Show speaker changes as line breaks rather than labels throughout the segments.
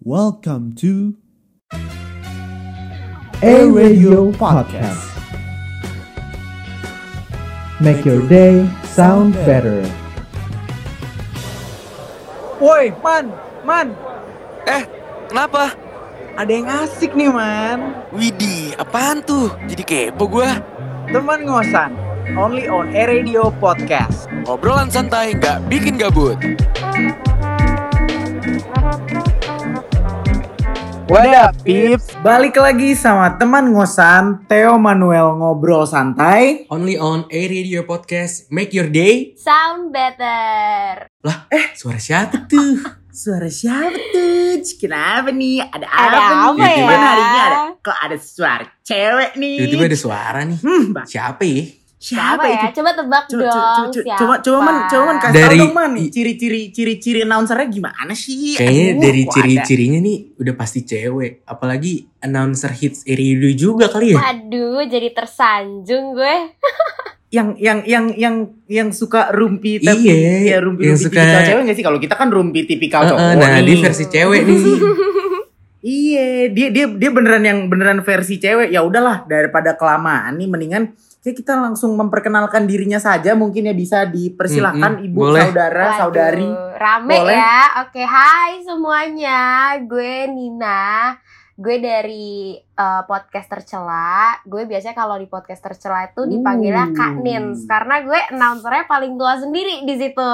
Welcome to
A Radio Podcast. Make your day sound better.
Woi, Man, Man,
Eh, kenapa?
ada yang asik nih, Man.
Widih, apaan tuh? Jadi kepo gua.
Teman ngosan, only on A Radio Podcast.
Obrolan santai nggak bikin gabut.
What up, peeps? Balik lagi sama teman ngosan, Theo Manuel Ngobrol Santai.
Only on A Radio Podcast Make Your Day Eh,
Sound better.
Suara siapa tuh?
Suara siapa tuh? Kenapa nih? Ada apa,
Ada apa
nih?
ya?
Gimana hari Iya, ini ada? Kok ada suara cewek nih?
Tiba-tiba ada suara nih
Hmm, Mbak,
Siapa ya?
siapa,
ya?
itu?
Coba tebak
Coba,
dong.
coba, coba,
siapa?
coba, coba, man, coba, man, kasih tau
Dari-
dong, man, ciri-ciri, ciri-ciri announcernya gimana sih?
Kayaknya
Iya, Aduh,
dari
kok ada?
ciri-cirinya nih udah pasti cewek Apalagi announcer hits A Radio juga kali ya
Aduh, jadi tersanjung gue.
yang yang yang yang yang suka rumpi tapi ya
Iya,
rumpi,
yang
rumpi
suka-
tipikal cewek nggak sih kalau kita kan rumpi tipikal
Eh, eh,
cowok
Nah
nih.
dia versi cewek nih
iya dia dia dia beneran yang beneran versi cewek ya udahlah daripada kelamaan nih mendingan kayak kita langsung memperkenalkan dirinya saja mungkin ya bisa dipersilahkan
Mm-mm,
ibu
boleh.
saudara
Waduh,
saudari
Rame
Boleh.
ya. Oke, hai semuanya. Gue Nina. Gue dari eh, podcast tercela. Gue biasanya kalau di podcast tercela itu
Uh.
dipanggilnya Kak Nins karena gue announcernya paling tua sendiri di situ.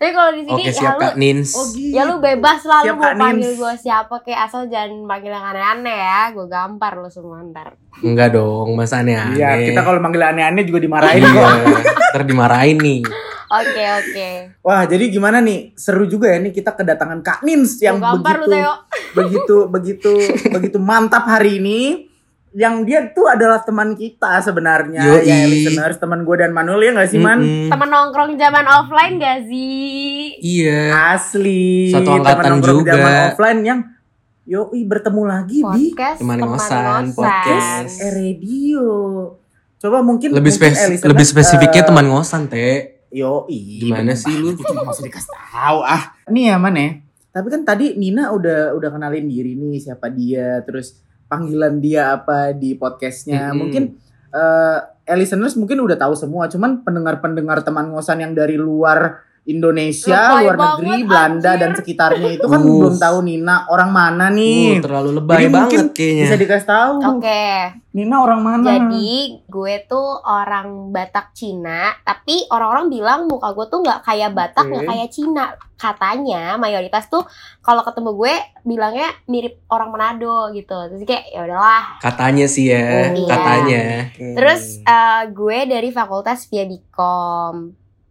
Tapi kalau di sini
Oke
ya
siap
lu
Kak Nins
oh gitu
Ya lu bebas lah
Siap,
lu mau
Kak
panggil
Nins.
gue siapa kayak asal jangan panggil yang aneh-aneh ya. Gue gampar lu semua ntar.
Enggak dong masa aneh-aneh
Iya, kita kalau manggil aneh-aneh juga dimarahin
Iya,
kok.
ntar dimarahin nih
Oke oke.
Wah, jadi gimana nih? Seru juga ya nih kita kedatangan Kak Nins yang
Gua gampar lu
begitu
Teo.
begitu begitu begitu mantap hari ini yang dia tuh adalah teman kita sebenarnya
Yoi.
ya listeners teman gue dan Manuel ya nggak sih man
Mm-mm.
Temen nongkrong zaman offline gak sih?
Iya
asli
Satu
teman
angkatan
nongkrong
juga.
zaman offline yang yoi bertemu lagi di
Podcast
Teman
teman
ngosan,
ngosan.
podcast.
eh, radio coba mungkin
lebih,
mungkin, eh,
spes-
listeners,
lebih spesifiknya
eh,
teman ngosan teh
yoi
Gimana sih lu?
Iya, Nggak usah dikasih tahu ah nih ya man ya tapi kan tadi Nina udah udah kenalin diri nih siapa dia terus panggilan dia apa di podcastnya Ya,
Mm-mm.
mungkin eh eh, listeners mungkin udah tahu semua cuman pendengar-pendengar teman ngosan yang dari luar Indonesia,
Lebay
luar negeri,
banget,
Belanda
anjir.
dan sekitarnya itu kan
Uh.
belum tahu Nina orang mana
Uh,
nih.
terlalu lebay
Jadi mungkin
banget kayaknya
Bisa dikasih tahu
Oke,
Nina orang mana?
jadi gue tuh orang Batak Cina, tapi orang-orang bilang muka gue tuh nggak kayak Batak, nggak
Oke.
kayak Cina. Katanya mayoritas tuh kalau ketemu gue bilangnya mirip orang Manado gitu. Terus kayak ya udahlah,
Katanya sih
Oh,
ya,
Iya.
katanya.
Terus
Hmm.
eh, gue dari Fakultas Via Bikom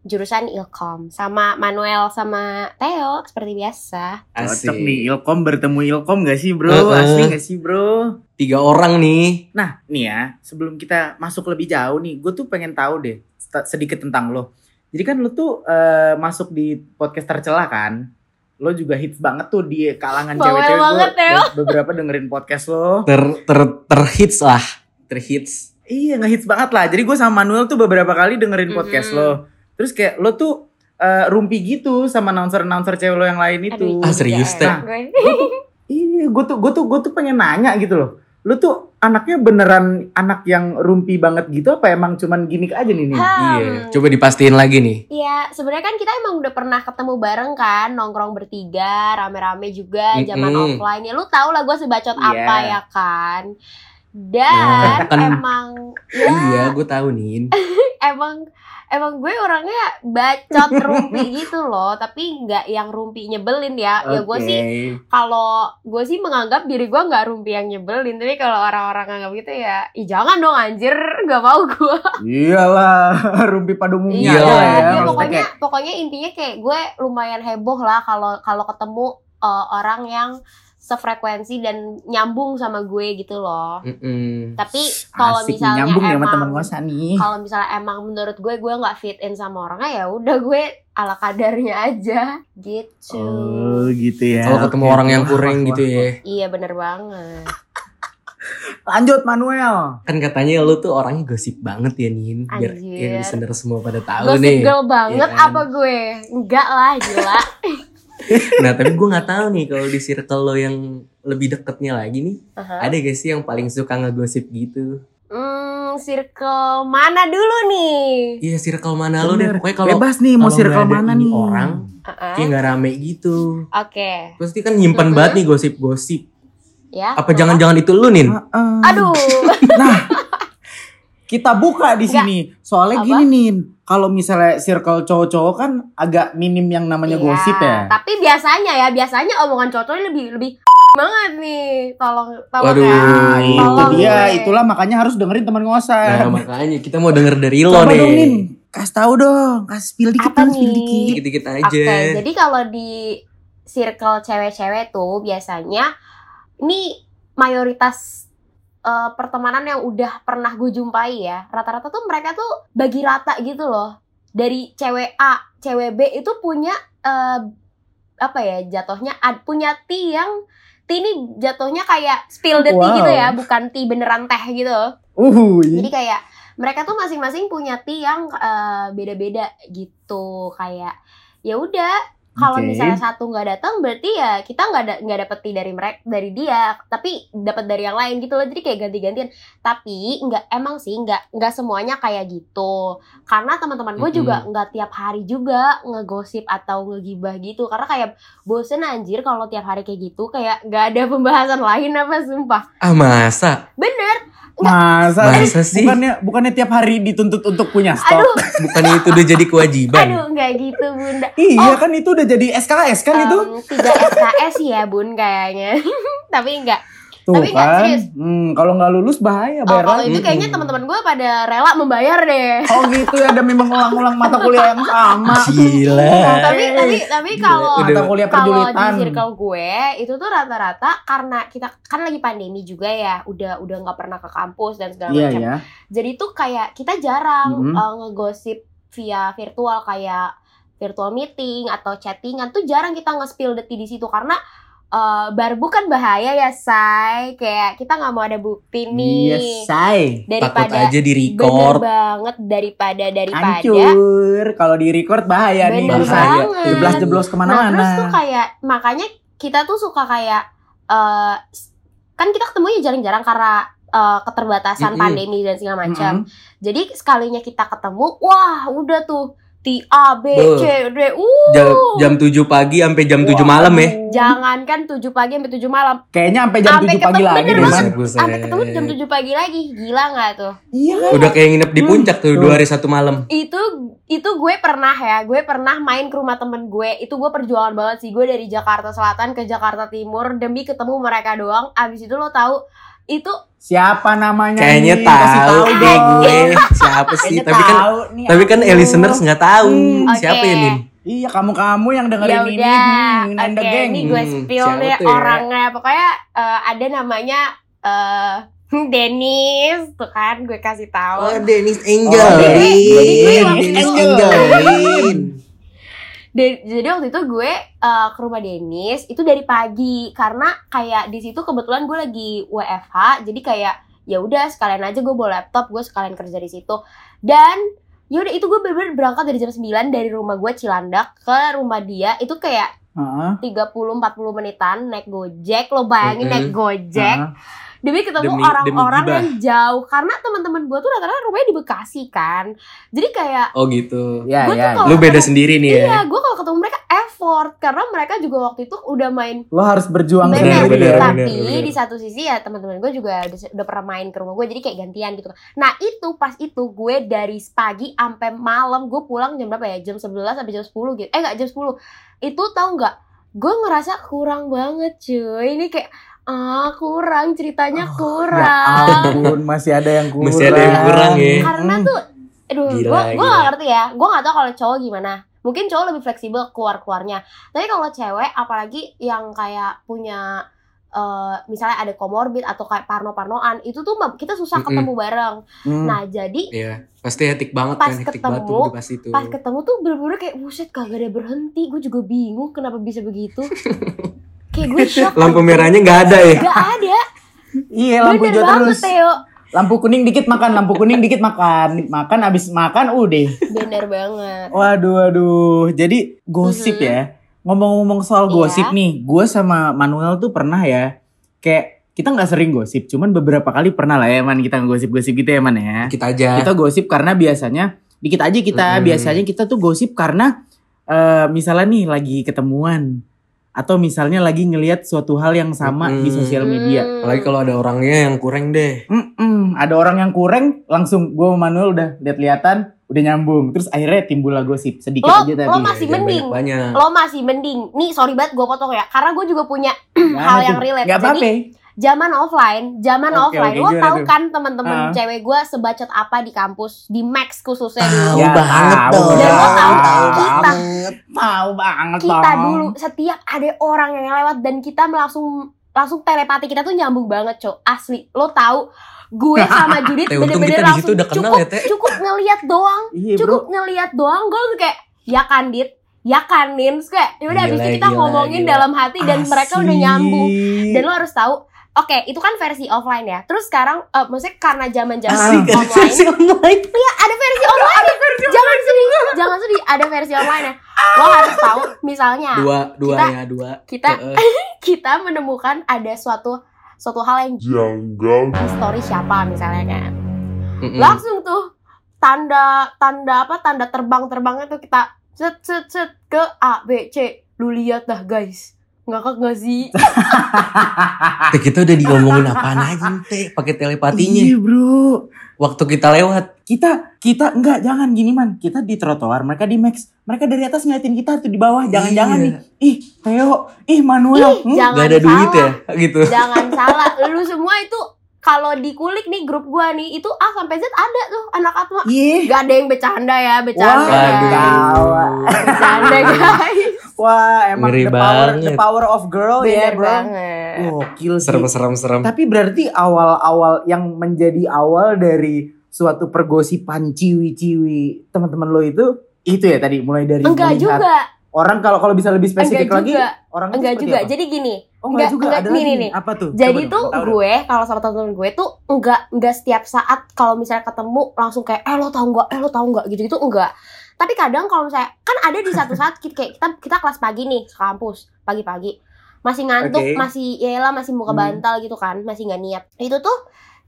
jurusan Ilkom sama Manuel sama Theo seperti biasa.
Cocok nih Ilkom bertemu Ilkom gak sih bro?
Heeh.
Asli gak sih bro?
Tiga orang nih.
Nah, nih ya, sebelum kita masuk lebih jauh nih, gue tuh pengen tahu deh sta- sedikit tentang lo. Jadi kan lo tuh eh, masuk di podcast tercelah kan? Lo juga hits banget tuh di kalangan
Bawel
cewek-cewek. Gua
banget, Teo.
be- Beberapa dengerin podcast lo.
Ter ter terhits lah, terhits.
Iya, ngehits banget lah. Jadi gue sama Manuel tuh beberapa kali dengerin podcast
Mhm.
lo. Terus kayak lo tuh eh, rumpi gitu sama announcer-announcer cewek lo yang lain itu.
Aduh,
Ah,
jadi
serius,
gak
Teh?
enak gue.
Iya, gue tuh gue tuh gue tuh pengen nanya gitu loh. Lu tuh anaknya beneran anak yang rumpi banget gitu apa emang cuman gimmick aja nih nih?
Hmm.
Iya, coba dipastiin lagi nih.
Iya, sebenarnya kan kita emang udah pernah ketemu bareng kan, nongkrong bertiga, rame-rame juga, zaman
Mm-mm.
offline. Ya lu tau lah gue sebacot
Iya.
apa ya kan.
Ya,
Dan
kan-
emang
Ah.
ya,
Iya, gue tahu nih.
emang emang gue orangnya bacot rumpi gitu loh, tapi nggak yang rumpi nyebelin ya. Ya gue sih kalau gue sih menganggap diri gue nggak rumpi yang nyebelin tapi kalau orang-orang nganggap gitu ya ih jangan dong anjir nggak mau gue
Iyalah, rumpi pada umumnya
Iya,
lah ya.
iya, maksudnya
pokoknya
kayak,
pokoknya intinya kayak gue lumayan heboh lah kalau kalau ketemu eh, orang yang sefrekuensi dan nyambung sama gue gitu loh
Mm-mm.
tapi kalau
asik nih,
misalnya
nyambung ya sama teman
emang
ngosan nih.
kalau misalnya emang menurut gue gue nggak fit in sama orangnya ya udah gue ala kadarnya aja gitu
Oh, gitu ya.
Kalau ketemu
Oke,
orang yang
wah,
kurang
wah,
gitu
wah.
ya.
iya bener banget
Lanjut Manuel.
Kan katanya lu tuh orangnya gosip banget ya Nin Biar
Anjir.
ya, listener semua pada tahu
Gosip
nih
girl banget
Iya kan?
apa gue? Enggak lah, gila.
nah tapi gue nggak tahu nih kalau di circle lo yang lebih deketnya lagi nih
Aha.
ada gak sih yang paling suka ngegosip gitu
Hmm, circle mana dulu nih?
iya circle mana lo deh
Bener.
pokoknya kalau
bebas nih mau
kalau
circle
nggak ada
mana
ini
nih
orang
Aha.
kayak nggak rame gitu
Uh-uh. Oke,
terus dia kan nyimpen
Mhm.
banget nih gosip-gosip
ya.
apa jangan-jangan itu lu nin
Heeh.
Aduh,
kita buka di
Nggak.
sini soalnya
Apa?
gini nih kalau misalnya circle cowok-cowok kan agak minim yang namanya
Iya,
gosip ya
Tapi biasanya ya, biasanya omongan cowoknya lebih lebih banget nih. Tolong, tolong
Waduh.
ya.
Nah, itu
Tolong
dia,
gue.
itulah makanya harus dengerin teman
Iya. nah
ngosan.
makanya kita mau denger dari lo
Coba dong, Nin.
nih
Kasih tahu dong, kasih spill dikit
Apa
dong, spill
nih?
dikit.
dikit-dikit
Oke,
aja
jadi kalau di circle cewek-cewek tuh biasanya ini mayoritas eh, pertemanan yang udah pernah gue jumpai ya. Rata-rata tuh mereka tuh bagi rata gitu loh. Dari cewek A, cewek B itu punya eh, apa ya jatuhnya ad- punya ti yang ti ini jatuhnya kayak spill the tea
Wow.
gitu ya, bukan ti beneran teh gitu.
Uhuy.
Jadi kayak mereka tuh masing-masing punya ti yang eh, beda-beda gitu kayak ya udah kalau
Oke.
misalnya satu nggak datang berarti ya kita nggak ada nggak dapet ti dari mereka dari dia tapi dapat dari yang lain gitu loh jadi kayak ganti-gantian tapi nggak emang sih nggak nggak semuanya kayak gitu karena teman-teman gue
Mm-mm.
juga nggak tiap hari juga ngegosip atau ngegibah gitu karena kayak bosen anjir kalau tiap hari kayak gitu kayak nggak ada pembahasan lain apa sumpah
ah masa
bener
Masa
masa sih
bukannya bukannya tiap hari dituntut untuk punya stok.
aduh
bukan itu udah jadi kewajiban
aduh nggak gitu bunda
Iya kan itu udah jadi SKS kan itu?
Em, tiga SKS ya bun kayaknya tapi enggak
Tuh
tapi nggak
kan.
serius.
Hmm, kalau nggak lulus bahaya
oh,
bayar
kalau
lagi.
itu kayaknya
Mm-mm.
teman-teman gue pada rela membayar deh
Oh gitu ya demi mengulang-ulang mata kuliah yang sama. Eh,
gila
tapi tapi tapi kalau
Udah-
mata kuliah
kalau di
perjulitan.
circle gue itu tuh rata-rata karena kita kan lagi pandemi juga ya udah udah nggak pernah ke kampus dan segala
Iya
macam
ya.
jadi tuh kayak kita jarang
Mhm.
eh, ngegosip via virtual kayak virtual meeting atau chattingan tuh jarang kita nge-spill the tea di situ karena eh, barbu kan bahaya ya say kayak kita nggak mau ada bukti
Iya,
nih
say.
takut
daripada
aja di
bener
record
banget daripada daripada
Hancur kalau di record bahaya nih.
Bener
Bahaya.
bahaya.
banget.
Jeblas-jeblos
Nah,
kemana-mana.
terus tuh kayak makanya kita tuh suka kayak eh, s- kan kita ketemunya jarang-jarang karena eh, keterbatasan
Mm-mm.
pandemi dan segala macam.
Mm-mm.
Jadi sekalinya kita ketemu, wah udah tuh T A B
Beuh.
C D uh
jam, jam 7 pagi sampai jam 7 malam ya
jangankan 7 pagi sampai 7 malam,
Kayaknya sampai jam
Sampai
7 pagi
ketemu
lagi
bener
deh, Man.
Buset, Iya, buset.
sampai ketemu jam 7 pagi lagi. Gila nggak tuh?
Iya kan?
udah kayak nginep di
Hmm.
puncak tuh
Tuh.
dua hari satu malam
Itu itu gue pernah ya, gue pernah main ke rumah temen gue. Itu gue perjuangan banget sih gue dari Jakarta Selatan ke Jakarta Timur demi ketemu mereka doang. Abis itu lo tahu itu
Siapa namanya?
kayaknya
nih? Kasih
tahu deh
dong.
gue siapa sih
Kayaknya
tapi kan
tahu nih,
tapi kan
aduh.
eh, listeners nggak tahu
Hmm,
siapa ya
Ya oke.
Nin
Iya, kamu-kamu yang dengerin
ya
ini.
udah
hmm,
oke
Nanda geng.
ini gue
Hmm,
spill
siapa
deh
tuh ya?
orangnya pokoknya eh, ada namanya eh Dennis tuh kan gue kasih
oh
tahu
Dennis Angel
Oh,
jadi- jadi gue
Lin.
waktu
Dennis
itu-
Angel Lin.
De- jadi waktu itu gue eh, ke rumah Dennis itu dari pagi karena kayak di situ kebetulan gue lagi WFH jadi kayak ya udah sekalian aja gue bawa laptop gue sekalian kerja di situ dan ya udah itu gue bener-bener berangkat dari jam 9 dari rumah gue Cilandak ke rumah dia itu kayak
Heeh,
30-40 menitan naik gojek lo bayangin
Mm-mm.
naik gojek
heeh.
demi ketemu
Demi-
orang-orang
demi
yang jauh karena teman-teman gue tuh rata-rata rumahnya di Bekasi kan jadi kayak
oh gitu
Ya,
Gua tuh
ya.
kalau-
lu beda sendiri nih ya
Oh, iya gue kalau ketemu mereka effort karena mereka juga waktu itu udah main
Lo harus berjuang
Bener,
benar
sendiri
bener,
ya.
bener.
tapi di satu sisi ya teman-teman gue juga udah, udah pernah main ke rumah gue jadi kayak gantian gitu nah itu pas itu gue dari pagi sampai malam gue pulang jam berapa ya jam 11 sampai jam 10 gitu eh nggak jam 10 itu tahu nggak gue ngerasa kurang banget cuy ini kayak ah kurang ceritanya
Ya
kurang
ampun, masih ada yang kurang.
Masih ada yang kurang ya.
karena tuh aduh
Gila,
gue gue
gila.
gak ngerti ya gue gak tau kalau cowok gimana mungkin cowok lebih fleksibel keluar keluarnya tapi kalau cewek apalagi yang kayak punya eh, misalnya ada komorbid atau kayak parno parnoan itu tuh mah kita susah
Mm-mm.
ketemu bareng
Hmm.
nah jadi
Iya, pasti hektik banget
Pas
kan hektik
ketemu,
banget tuh udah pasti tuh
pas ketemu tuh bener-bener kayak buset kagak ada berhenti gue juga bingung kenapa bisa begitu kayak gue shock
lampu merahnya nggak ada ya
gak ada
Iya, lampu hijau
bener banget ya.
terus.
Teo
Lampu kuning dikit makan, lampu kuning dikit makan. Makan abis makan udah.
bener banget
Waduh, waduh. Jadi gosip
Mhm.
ya. Ngomong-ngomong soal
Iya.
gosip nih, gue sama Manuel tuh pernah ya, kayak kita nggak sering gosip, cuman beberapa kali pernah lah ya man kita gosip-gosip gitu ya man ya.
Kita aja.
Kita gosip karena biasanya dikit aja kita,
Mm-mm.
biasanya kita tuh gosip karena eh, misalnya nih lagi ketemuan atau misalnya lagi ngelihat suatu hal yang sama di
Mm-mm.
sosial media.
Hmm.
Apalagi kalau ada orangnya yang kurang deh.
Mm-mm, ada orang yang kurang, langsung gue sama Manuel udah lihat-lihatan, udah nyambung. Terus akhirnya timbullah gosip sedikit
Lo-
aja
lo
tadi.
masih
Jangan
mending.
Banyak-banyak.
Lo masih mending. Nih sorry banget gue potong ya. Karena gue juga punya hal yang relate.
Gak
Jadi
apa-apa.
zaman offline, zaman
Oke,
offline.
oke,
lo
gimana
tau
tuh?
kan teman-teman
Ah.
cewek gue sebacot apa di kampus, di Max khususnya
Tahu
dulu.
Ya,
banget
tahu
dong.
Dan lo tahu kan
Tahu
Ah.
kita,
Tahu banget
kita
dong.
dulu setiap ada orang yang lewat dan kita langsung langsung telepati kita tuh nyambung banget cok asli lo tahu gue sama Judit
Teh, untung
bener-bener
kita di situ
langsung
udah kenal
cukup
ya, Teh.
cukup ngelihat doang
Iya bro.
cukup ngelihat doang gue langsung kayak ya kandit ya kan Nin?" Terus kayak ya udah abis
Gila,
itu kita
gila,
ngomongin
gila.
dalam hati dan mereka udah nyambung
Asik.
dan lo harus tahu oke itu kan versi offline ya terus sekarang eh, maksudnya karena zaman zaman
Asik, ada
online
versi online.
Iya, ada versi online jangan sedih jangan sedih ada versi online ya lo harus tahu misalnya
Dua, dua
Nah, Kita-
ya, dua.
kita
Heeh.
kita menemukan ada suatu suatu hal yang di story siapa misalnya kan
Mm-mm.
langsung tuh tanda tanda apa tanda terbang terbangnya tuh kita set set set ke A B C lu lihat dah guys ngakak gak sih
Teh, kita udah diomongin apaan aja nih, Teh. Pakai telepatinya.
Iya bro.
Waktu kita lewat.
Kita kita enggak jangan gini man. Kita di trotoar, mereka di max. Mereka dari atas ngeliatin kita tuh di bawah. Jangan-jangan
Iya.
nih. Ih, Theo, ih
Ih,
Manuel. Hmm?
jangan
Gak ada
salah
duit ya. Gitu.
jangan salah lu semua itu kalau dikulik nih grup gua nih itu A sampai Z ada tuh anak atma
Ih.
gak ada yang bercanda ya bercanda
Wah.
ya. bercanda guys
Wah, emang
Ngeri
the power the
banget.
power of girl ya,
Bener
bro.
banget.
Gokil sih.
Serem-serem-serem.
Tapi berarti awal-awal yang menjadi awal dari suatu pergosipan ciwi-ciwi teman-teman lo itu itu ya tadi mulai dari
enggak
melihat
juga
orang kalau kalau bisa lebih spesifik
Enggak
lagi
juga.
orang itu
enggak
seperti
juga
apa?
jadi gini
oh enggak,
Enggak-
juga
enggak,
ada
nih,
lagi
nih, nih.
apa tuh
jadi
Coba
tuh
dong, tahu dong.
gue kalau sama temen-temen gue tuh enggak enggak setiap saat kalau misalnya ketemu langsung kayak eh lo tau enggak eh lo tau enggak gitu-gitu enggak tapi kadang kalau misalnya kan ada di satu saat kita kayak kita kita kelas pagi nih ke kampus pagi-pagi masih ngantuk
Oke.
masih ya lah masih muka
Hmm.
bantal gitu kan masih nggak niat itu tuh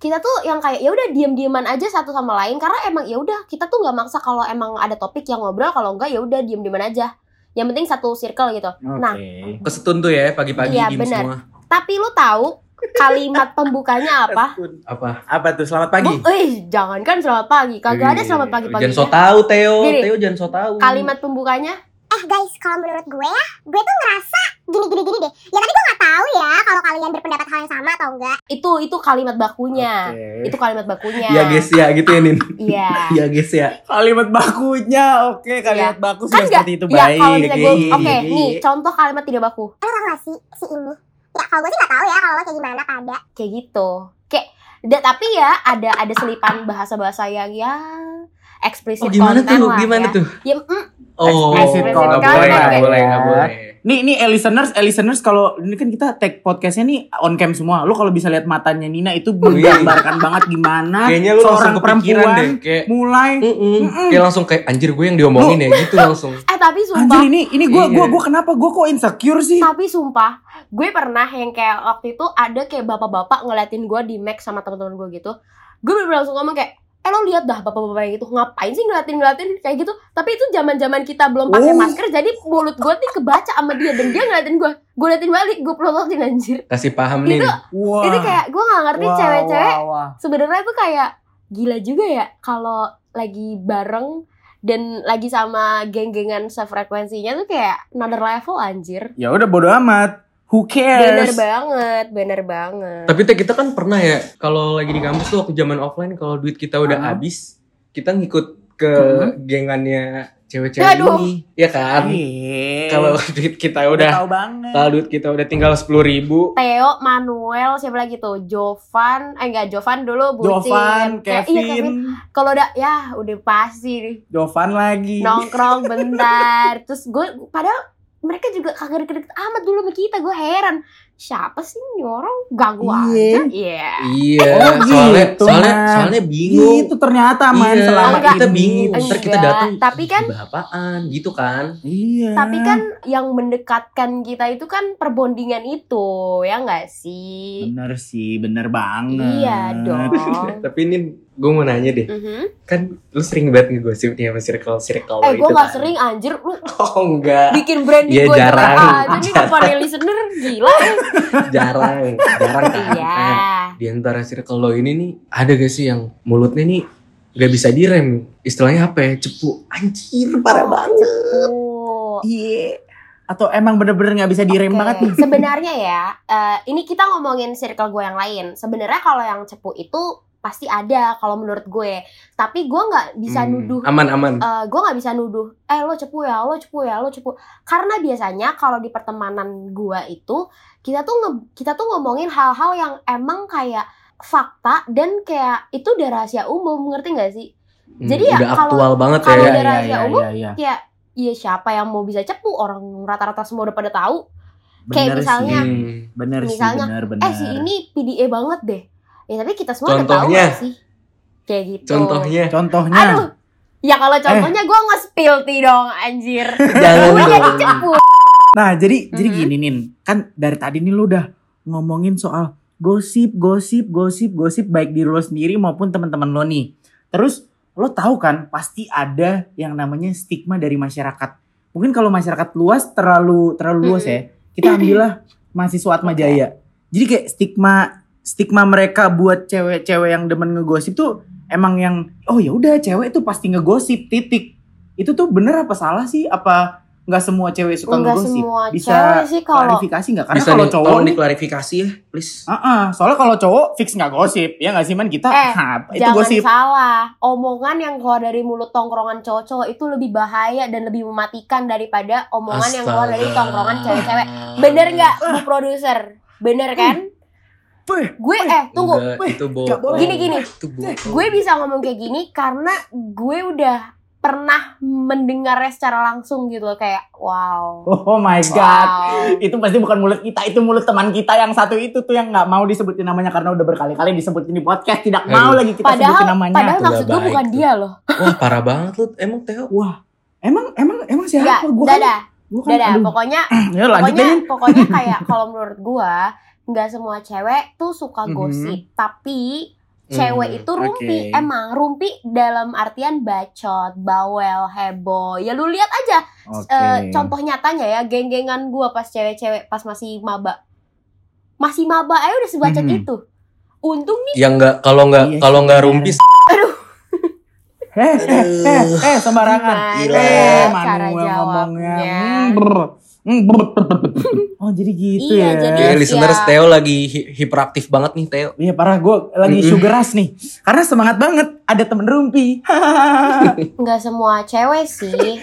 kita tuh yang kayak ya udah diam-diaman aja satu sama lain karena emang ya udah kita tuh nggak maksa kalau emang ada topik yang ngobrol kalau enggak ya udah diam-diaman aja yang penting satu circle gitu nah
Oke.
Kesetun tuh ya pagi-pagi
Iya,
diem
bener.
semua.
tapi lu tahu kalimat pembukanya apa
Apa?
apa tuh selamat pagi
Bu- eh, jangan kan selamat pagi. Kagak ada selamat pagi pagi.
Jangan so tau Theo,
Gini.
Theo jangan so tau.
Kalimat pembukanya
Eh guys, kalau menurut gue ya, gue tuh ngerasa gini-gini-gini deh. Ya tapi gue nggak tahu ya kalau kalian berpendapat hal yang sama atau enggak.
itu itu kalimat bakunya.
Oke.
Itu kalimat bakunya.
Ya guys ya gitu ya Nin.
Iya.
Ya guys ya.
kalimat bakunya oke kalimat baku sudah
Kan enggak?
seperti itu
Iya,
baik
kalau misalnya gue
Iya,
oke,
iya,
nih
iya.
contoh kalimat tidak baku.
Eh, Lo tau gak sih si ini? Ya kalau gue sih nggak tahu ya kalau lo kayak gimana pada.
Kayak gitu. Kayak da- tapi ya ada ada selipan bahasa-bahasa yang ya eksplisit
Oh gimana
konten
tuh?
lah
Gimana
ya.
tuh?
Ya, mm,
Oh,
Explicit
nggak
content
boleh,
ya.
nggak boleh, nggak boleh.
Nih, nih eh, listeners, eh, listeners kalau ini kan kita tag podcastnya nih on cam semua. Lu kalau bisa lihat matanya Nina itu menggambarkan banget gimana
Kayaknya lu langsung
seorang
kepikiran
perempuan
deh Iya, kayak
mulai
Mm-mm. Kayak langsung kayak anjir gue yang diomongin ya gitu langsung.
eh tapi sumpah Iya.
anjir ini ini gue
Iya.
gua gua kenapa gue kok insecure sih?
Tapi sumpah, gue pernah yang kayak waktu itu ada kayak bapak-bapak ngeliatin gue di Mac sama teman-teman gue gitu. Gue bener langsung ngomong kayak, eh lo lihat dah bapak-bapak yang gitu ngapain sih ngeliatin ngeliatin kayak gitu. Tapi itu zaman-zaman kita belum
Oh.
pakai masker, jadi mulut gue nih kebaca sama dia dan dia ngeliatin gue. Gue liatin balik, gue pelototin anjir.
Kasih paham
Itu
Nin.
Wah.
Itu kayak gue nggak ngerti
wah,
cewek-cewek
wah, wah.
sebenarnya tuh kayak gila juga ya kalau lagi bareng dan lagi sama geng-gengan sefrekuensinya tuh kayak another level anjir.
Ya udah bodo amat. Who
Bener
cares?
banget, bener banget.
Tapi Teh, kita kan pernah ya kalau lagi di kampus tuh waktu zaman offline kalau duit kita udah
Ah.
habis, kita ngikut ke gengannya cewek-cewek
Aduh.
ini, ya kan?
Iya.
Kalau duit kita udah
tahu banget.
kalau duit kita udah tinggal sepuluh ribu,
Theo, Manuel, siapa lagi tuh? Jovan, eh enggak Jovan dulu, Bucin.
Jovan,
Kayak-
Kevin,
Iya, Kevin. Kalau udah, ya udah pasti nih.
Jovan lagi.
Nongkrong bentar. Terus gue, padahal mereka juga kagak deket-deket amat dulu sama kita gue heran siapa sih ini orang ganggu
Iya.
aja iya
Iya,
Oh,
soalnya,
gitu,
soalnya,
Man.
soalnya bingung.
Gitu ternyata man
Iya,
selama
Enggak.
kita
ini.
bingung. Ntar kita
Enggak,
datang.
tapi kan-
"Tiba apaan gitu kan?
Iya.
tapi kan yang mendekatkan kita itu kan perbondingan itu ya nggak sih
bener sih, bener banget.
iya dong
Tapi ini gue mau nanya deh,
Mhm.
kan lu sering banget ngegosip nih sama circle circle
Oh,
eh gue
itu
nggak
kan?
sering anjir lu
Oh enggak,
bikin branding
Iya,
gue
jarang.
aja nih
Jarang.
kepada listener gila
jarang, jarang kan?
iya
Nah, di antara circle lo ini nih ada gak sih yang mulutnya nih gak bisa direm? Istilahnya apa ya? Cepu, anjir parah banget.
Oh,
Iya. Atau emang bener-bener nggak bisa direm
Oke,
banget nih. Iya,
Sebenarnya ya, eh, ini kita ngomongin circle gue yang lain. Sebenarnya kalau yang cepu itu pasti ada kalau menurut gue. Tapi gue nggak bisa
Hmm,
nuduh.
Aman aman.
eh, gue nggak bisa nuduh. Eh lo cepu ya, lo cepu ya, lo cepu. Karena biasanya kalau di pertemanan gue itu kita tuh nge- kita tuh ngomongin hal-hal yang emang kayak fakta dan kayak itu udah rahasia umum ngerti nggak sih?
Hmm,
jadi ya
udah
kalau-
aktual banget ya.
kalau udah rahasia umum,
iya.
Kayak Iya siapa yang mau bisa cepu orang rata-rata semua udah pada tahu.
Bener
Kayak misalnya-
sih.
Hmm.
Bener
misalnya,
sih, bener, bener.
eh si ini PDA banget deh ya tapi kita semua udah tahu
Contohnya.
gak sih kayak gitu
Contohnya Eh.
Contohnya.
aduh ya kalau contohnya gua gue nge-spill ti dong anjir
jangan
gue jadi
dong.
cepu
Nah, jadi jadi
Mhm.
gini Nin, kan dari tadi nih lu udah ngomongin soal gosip, gosip, gosip, gosip baik diri lo sendiri maupun teman-teman lo nih. Terus lo tahu kan pasti ada yang namanya stigma dari masyarakat. Mungkin kalau masyarakat luas terlalu terlalu luas
Mhm.
ya. Kita ambillah mahasiswa Atma
Oke.
Jaya. Jadi kayak stigma stigma mereka buat cewek-cewek yang demen ngegosip tuh emang yang oh ya udah cewek itu pasti ngegosip titik. Itu tuh bener apa salah sih? Apa nggak semua cewek suka
enggak
ngegosip?
semua
Bisa
cewek sih kalau
klarifikasi nggak karena
Bisa
kalau
nih,
cowok
tolong
nih
diklarifikasi ya, please.
Heeh, soalnya kalau cowok fix nggak gosip ya nggak sih man kita
Eh,
ha, itu
jangan
gosip
salah omongan yang keluar dari mulut tongkrongan cowok-cowok itu lebih bahaya dan lebih mematikan daripada omongan yang keluar dari
Astaga.
tongkrongan cewek-cewek bener nggak bu produser bener kan
Beh,
gue eh tunggu
Enggak,
Weh,
itu bohong.
nggak boleh.
Gini, gini.
Itu bohong.
Nah,
Gitu.
gue bisa ngomong kayak gini karena gue udah pernah mendengarnya secara langsung gitu loh kayak wow
oh my god
wow
itu pasti bukan mulut kita itu mulut teman kita yang satu itu tuh yang nggak mau disebutin namanya karena udah berkali-kali disebutin di podcast tidak mau
Aduh.
lagi kita sebutin
padahal
namanya
padahal
Udah
maksud gue
baik
bukan
tuh.
dia loh
Wah, parah banget lu. Emang Teo
emang emang emang
ya
siapa gue kan
dadah
gue kan
dadah
aduh.
pokoknya
ya lanjut
pokoknya
deh
pokoknya kayak kalau menurut gue nggak semua cewek tuh suka
Mhm.
gosip tapi
Hmm,
cewek itu rumpi
oke.
emang rumpi dalam artian bacot bawel heboh ya lu lihat aja Eh, contoh nyatanya ya geng-gengan gua pas cewek-cewek pas masih maba masih maba aja udah sebacot
Mhm.
itu untung nih
yang enggak Ya kalau enggak
Iya sih,
kalau enggak
bener.
rumpi
eh eh eh eh sembarangan
Gila.
eh
ya Cara
Manuel
jawabnya.
ngomongnya Mm, brr. Mm, brr, brr, brr, brr. oh jadi gitu
Iya,
ya
jadi
Iya, listeners
Iya.
Theo lagi hi- hiperaktif banget nih Theo.
Iya parah gue lagi
Mm-mm.
sugar rush nih Karena semangat banget Ada temen rumpi
nggak semua cewek sih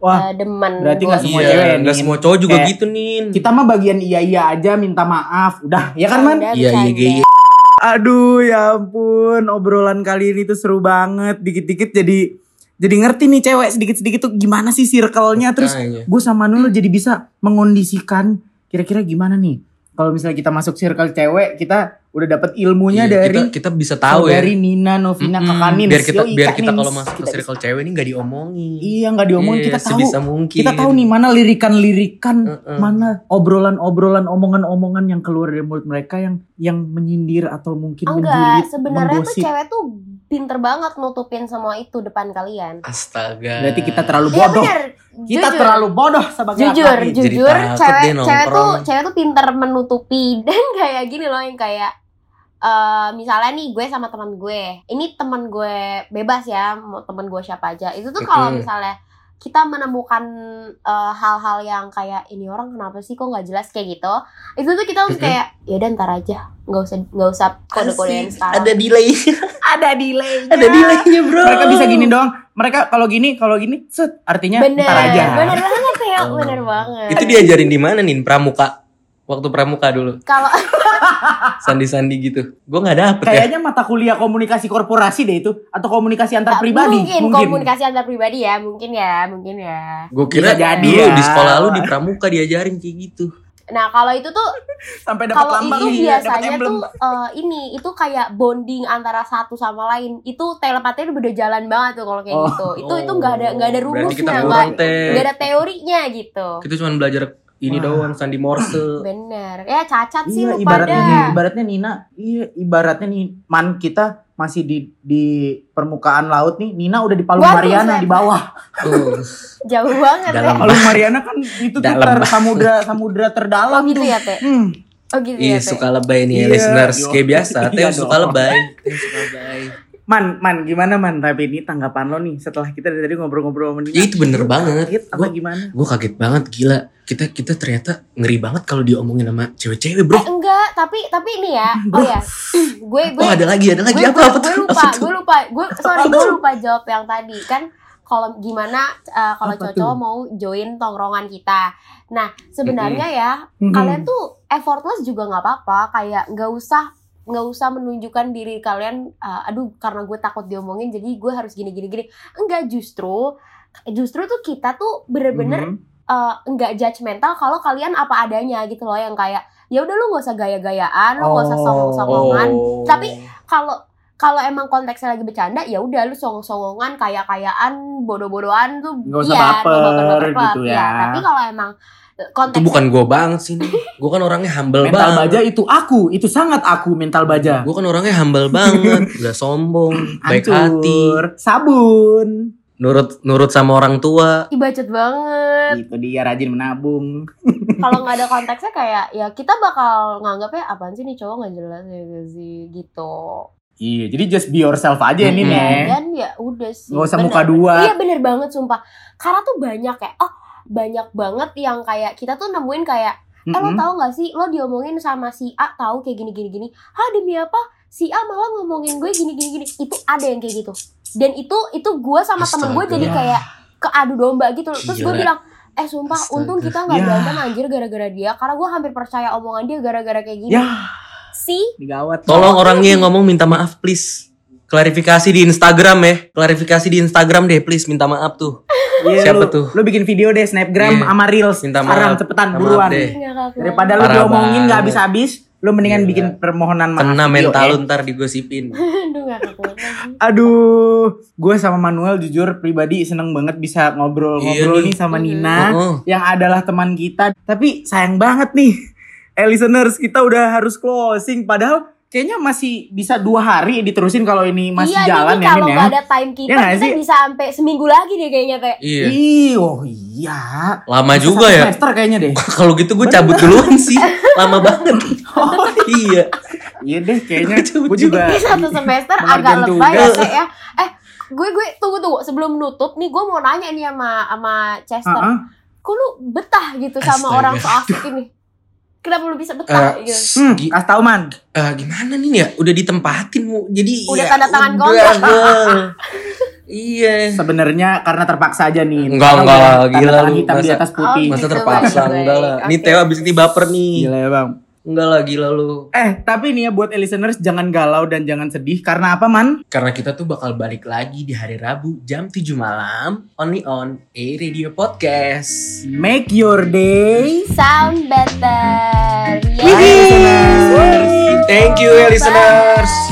Wah,
eh, demen
berarti nggak semua ya.
Iya,
cewek,
nggak
Nin.
semua cowok juga
Kayak
gitu, Nin.
Kita mah bagian iya-iya aja Minta maaf Udah ya kan man
Iya, iya, iya, iya.
Aduh ya ampun Obrolan kali ini tuh seru banget Dikit-dikit jadi Jadi ngerti nih cewek Sedikit-sedikit tuh gimana sih circle-nya Terus
Makanya.
gue sama Nul jadi bisa mengondisikan Kira-kira gimana nih Kalau misalnya kita masuk circle cewek Kita udah dapet ilmunya
Iya,
dari
kita, kita bisa tahu ya.
dari Nina, Novina,
Mm-mm,
Kakak Nins.
biar kita
Yoi,
biar
Kak
kita kalau
Nins.
masuk ke
Kita
circle cewek ini nggak diomongin.
Iya nggak diomongin
Iya,
kita tahu.
sebisa mungkin.
Kita tahu nih mana lirikan-lirikan,
Heeh.
mana obrolan-obrolan, omongan-omongan yang keluar dari mulut mereka yang yang menyindir atau mungkin menjulit,
enggak sebenarnya tuh
menggosip.
cewek tuh pinter banget nutupin semua itu depan kalian
Astaga.
Berarti kita terlalu
iya
bodoh.
bener
kita
jujur.
terlalu bodoh sebagai
jujur
laki-laki.
Iya, jadi
jujur
takut
cewek
dia
cewek tuh
nongkrong.
cewek tuh pinter menutupi dan kayak gini loh yang kayak eh misalnya nih gue sama teman gue ini teman gue bebas ya mau teman gue siapa aja itu tuh kalau
Mm-mm.
misalnya kita menemukan eh, hal-hal yang kayak ini orang kenapa sih kok nggak jelas kayak gitu itu tuh kita harus
Mm-mm.
kayak ya udah ntar aja nggak usah nggak usah kode-kodean
Asik,
sekarang
Ada delay.
Ada delay.
Ada delaynya, Bro.
Mereka bisa gini doang. Mereka kalau gini, kalau gini, set. Artinya
bener
ntar aja.
bener banget ya
Oh.
bener banget
Itu diajarin di mana, Nin? Pramuka. waktu pramuka dulu
Kalau
sandi-sandi gitu gue nggak dapet ya
Kayaknya mata kuliah komunikasi korporasi deh itu atau komunikasi antar pribadi
mungkin, komunikasi antar pribadi ya, mungkin ya, mungkin ya.
gue kira
Bisa jadi
dulu
ya.
di sekolah lu di pramuka diajarin kayak gitu
Nah, kalau itu tuh
sampai dapat
kalau
lambang
itu
iya, dapat
biasanya
emblem.
tuh eh, ini itu kayak bonding antara satu sama lain. Itu telepatinya udah jalan banget tuh kalau kayak
Oh.
gitu. Itu itu nggak ada nggak ada
Oh, berarti kita
rumusnya, nggak
kurang teh
nggak ada teorinya gitu.
kita cuma belajar ini
Oh. Wah.
doang sandi morse
Bener. Ya cacat sih
Iya,
lu
ibaratnya
pada.
ibaratnya Nina, iya ibaratnya nih man kita masih di di permukaan laut nih, Nina udah di Palung
Waduh,
Mariana di
Sep.
bawah.
Tuh.
Jauh banget
Dalam.
ya.
Palung Mariana kan itu tuh
Dalam
ter-
banget.
samudra samudra
Oh
terdalam
gitu
tuh.
ya, Teh.
Hmm.
Oh gitu ya,
Iya
Teh.
suka lebay nih ya,
Iya.
listeners
Yo.
Kayak biasa Teh
Iya
suka
dong.
lebay Teh suka lebay
Man, man gimana man? Tapi ini tanggapan lo nih setelah kita dari tadi ngobrol-ngobrol sama
Ya
Nina.
itu bener banget
Kaget apa
Gua-
gimana?
Gue kaget banget gila Kita kita ternyata ngeri banget kalau diomongin sama cewek-cewek bro
Eh, enggak, tapi tapi ini ya. Oh ya. gue gue
Oh ada lagi ada lagi
gue,
apa
gue-
apa tuh
gue lupa,
apa tuh?
gue lupa, gue sorry gue lupa jawab yang tadi kan kalau gimana eh, kalau
Apa tuh?
cowok mau join tongkrongan kita. Nah sebenarnya ya
Mhm.
kalian tuh effortless juga nggak apa-apa, kayak nggak usah nggak usah menunjukkan diri kalian. eh, aduh karena gue takut diomongin jadi gue harus gini gini gini. Enggak justru justru tuh kita tuh bener-bener
Mhm.
eh, nggak judgmental kalau kalian apa adanya gitu loh yang kayak ya udah lu nggak usah gaya-gayaan, lu nggak usah
Oh.
songong-songongan, Tapi- kalau kalau emang konteksnya lagi bercanda ya udah lu songong-songongan kaya-kayaan bodoh-bodohan iya, tuh
Nggak usah baper gitu ya.
Iya, tapi kalau emang
Itu
konteks
bukan gue banget sih nih Gue kan orangnya humble
mental
banget
baja itu aku, itu sangat aku mental baja.
Gue kan orangnya humble banget Gak sombong Baik hati
Hancur. sabun.
Nurut nurut sama orang tua
Ih, bacot banget
Itu Gitu, dia rajin menabung.
kalau nggak ada konteksnya kayak ya kita bakal nganggapnya apaan sih nih cowok nggak jelas ya nggak sih gitu
Iya, jadi just be yourself aja ini
Mm-mm.
nih.
dan ya udah sih
Nggak usah
bener.
muka dua.
iya bener banget sumpah karena tuh banyak kayak oh banyak banget yang kayak kita tuh nemuin kayak Eh lo
Mm-mm.
tau gak sih lo diomongin sama si A tahu kayak gini gini gini Hah demi apa si A malah ngomongin gue gini gini gini Itu ada yang kayak gitu Dan itu itu gue sama temen gue
Astaga.
jadi kayak keadu domba gitu loh. Terus gue
Gila.
bilang Eh sumpah
Astaga.
untung kita gak
Ya.
berantem anjir gara-gara dia Karena gue hampir percaya omongan dia gara-gara kayak gini
Ya.
Si
Digawat.
Tolong orangnya yang ngomong minta maaf please Klarifikasi di Instagram ya Klarifikasi di Instagram deh please minta maaf tuh
Iya, lu-
Siapa tuh?
Lu bikin video deh snapgram
Iya.
sama reels.
Minta maaf.
Sekarang cepetan
Minta maaf
buruan.
deh.
Eh, Daripada lu
Parah
diomongin nggak
banget.
habis-habis, lu mendingan
Gila.
bikin permohonan maaf.
Kena
video,
mental
eh.
ya.
lu ntar digosipin
Aduh gak kekuat lagi
Aduh, gue sama Manuel jujur pribadi seneng banget bisa ngobrol-ngobrol
Iya nih.
nih sama
Mhm.
Nina
Oh.
yang adalah teman kita. Tapi sayang banget nih, eh listeners kita udah harus closing. Padahal kayaknya masih bisa dua hari diterusin kalau ini masih
Iya
jalan
nih
ya
kalau
Nin, ya.
gak ada time keeper
Iya nggak
Kita
sih?
bisa sampai seminggu lagi deh kayaknya teh
Iya
Ih, oh iya.
Lama
Bisa
juga
satu
ya.
Semester kayaknya deh.
Kalau gitu gue cabut duluan sih. Lama banget. iya.
Iya deh, kayaknya
Cabut
gue juga.
Ini satu semester agak
Menghargai
lebay ya
tugas.
Teh, ya. Eh, gue gue tunggu tunggu sebelum nutup nih gue mau nanya nih sama sama Chester.
Heeh.
Kok lu betah gitu sama
Astaga.
orang soasik ini? Kenapa lu bisa betah?
Eh,
gitu?
s-
Hmm,
gi-
kasih tau man.
eh, gimana nih ya? Udah ditempatin mu. Jadi
Udah
ya,
tanda tangan
udah,
kontrak.
gel. Iya.
Sebenarnya karena terpaksa aja nih.
Enggak,
Karena
enggak,
udah
gila
tanda tangan
lu,
hitam di
masa-
atas putih.
Oh,
Masa
Gitu,
terpaksa
baik,
enggak lah.
baik.
Nih
Oke.
Teo abis ini baper nih.
Gila ya bang.
Enggak lah gila lu.
Eh, tapi nih ya buat listeners jangan galau dan jangan sedih karena apa man?
Karena kita tuh bakal balik lagi di hari Rabu jam 7 malam only on A Radio Podcast.
Make your day.
Sound better. Yeay.
Bye, listeners.
Thank you ya listeners.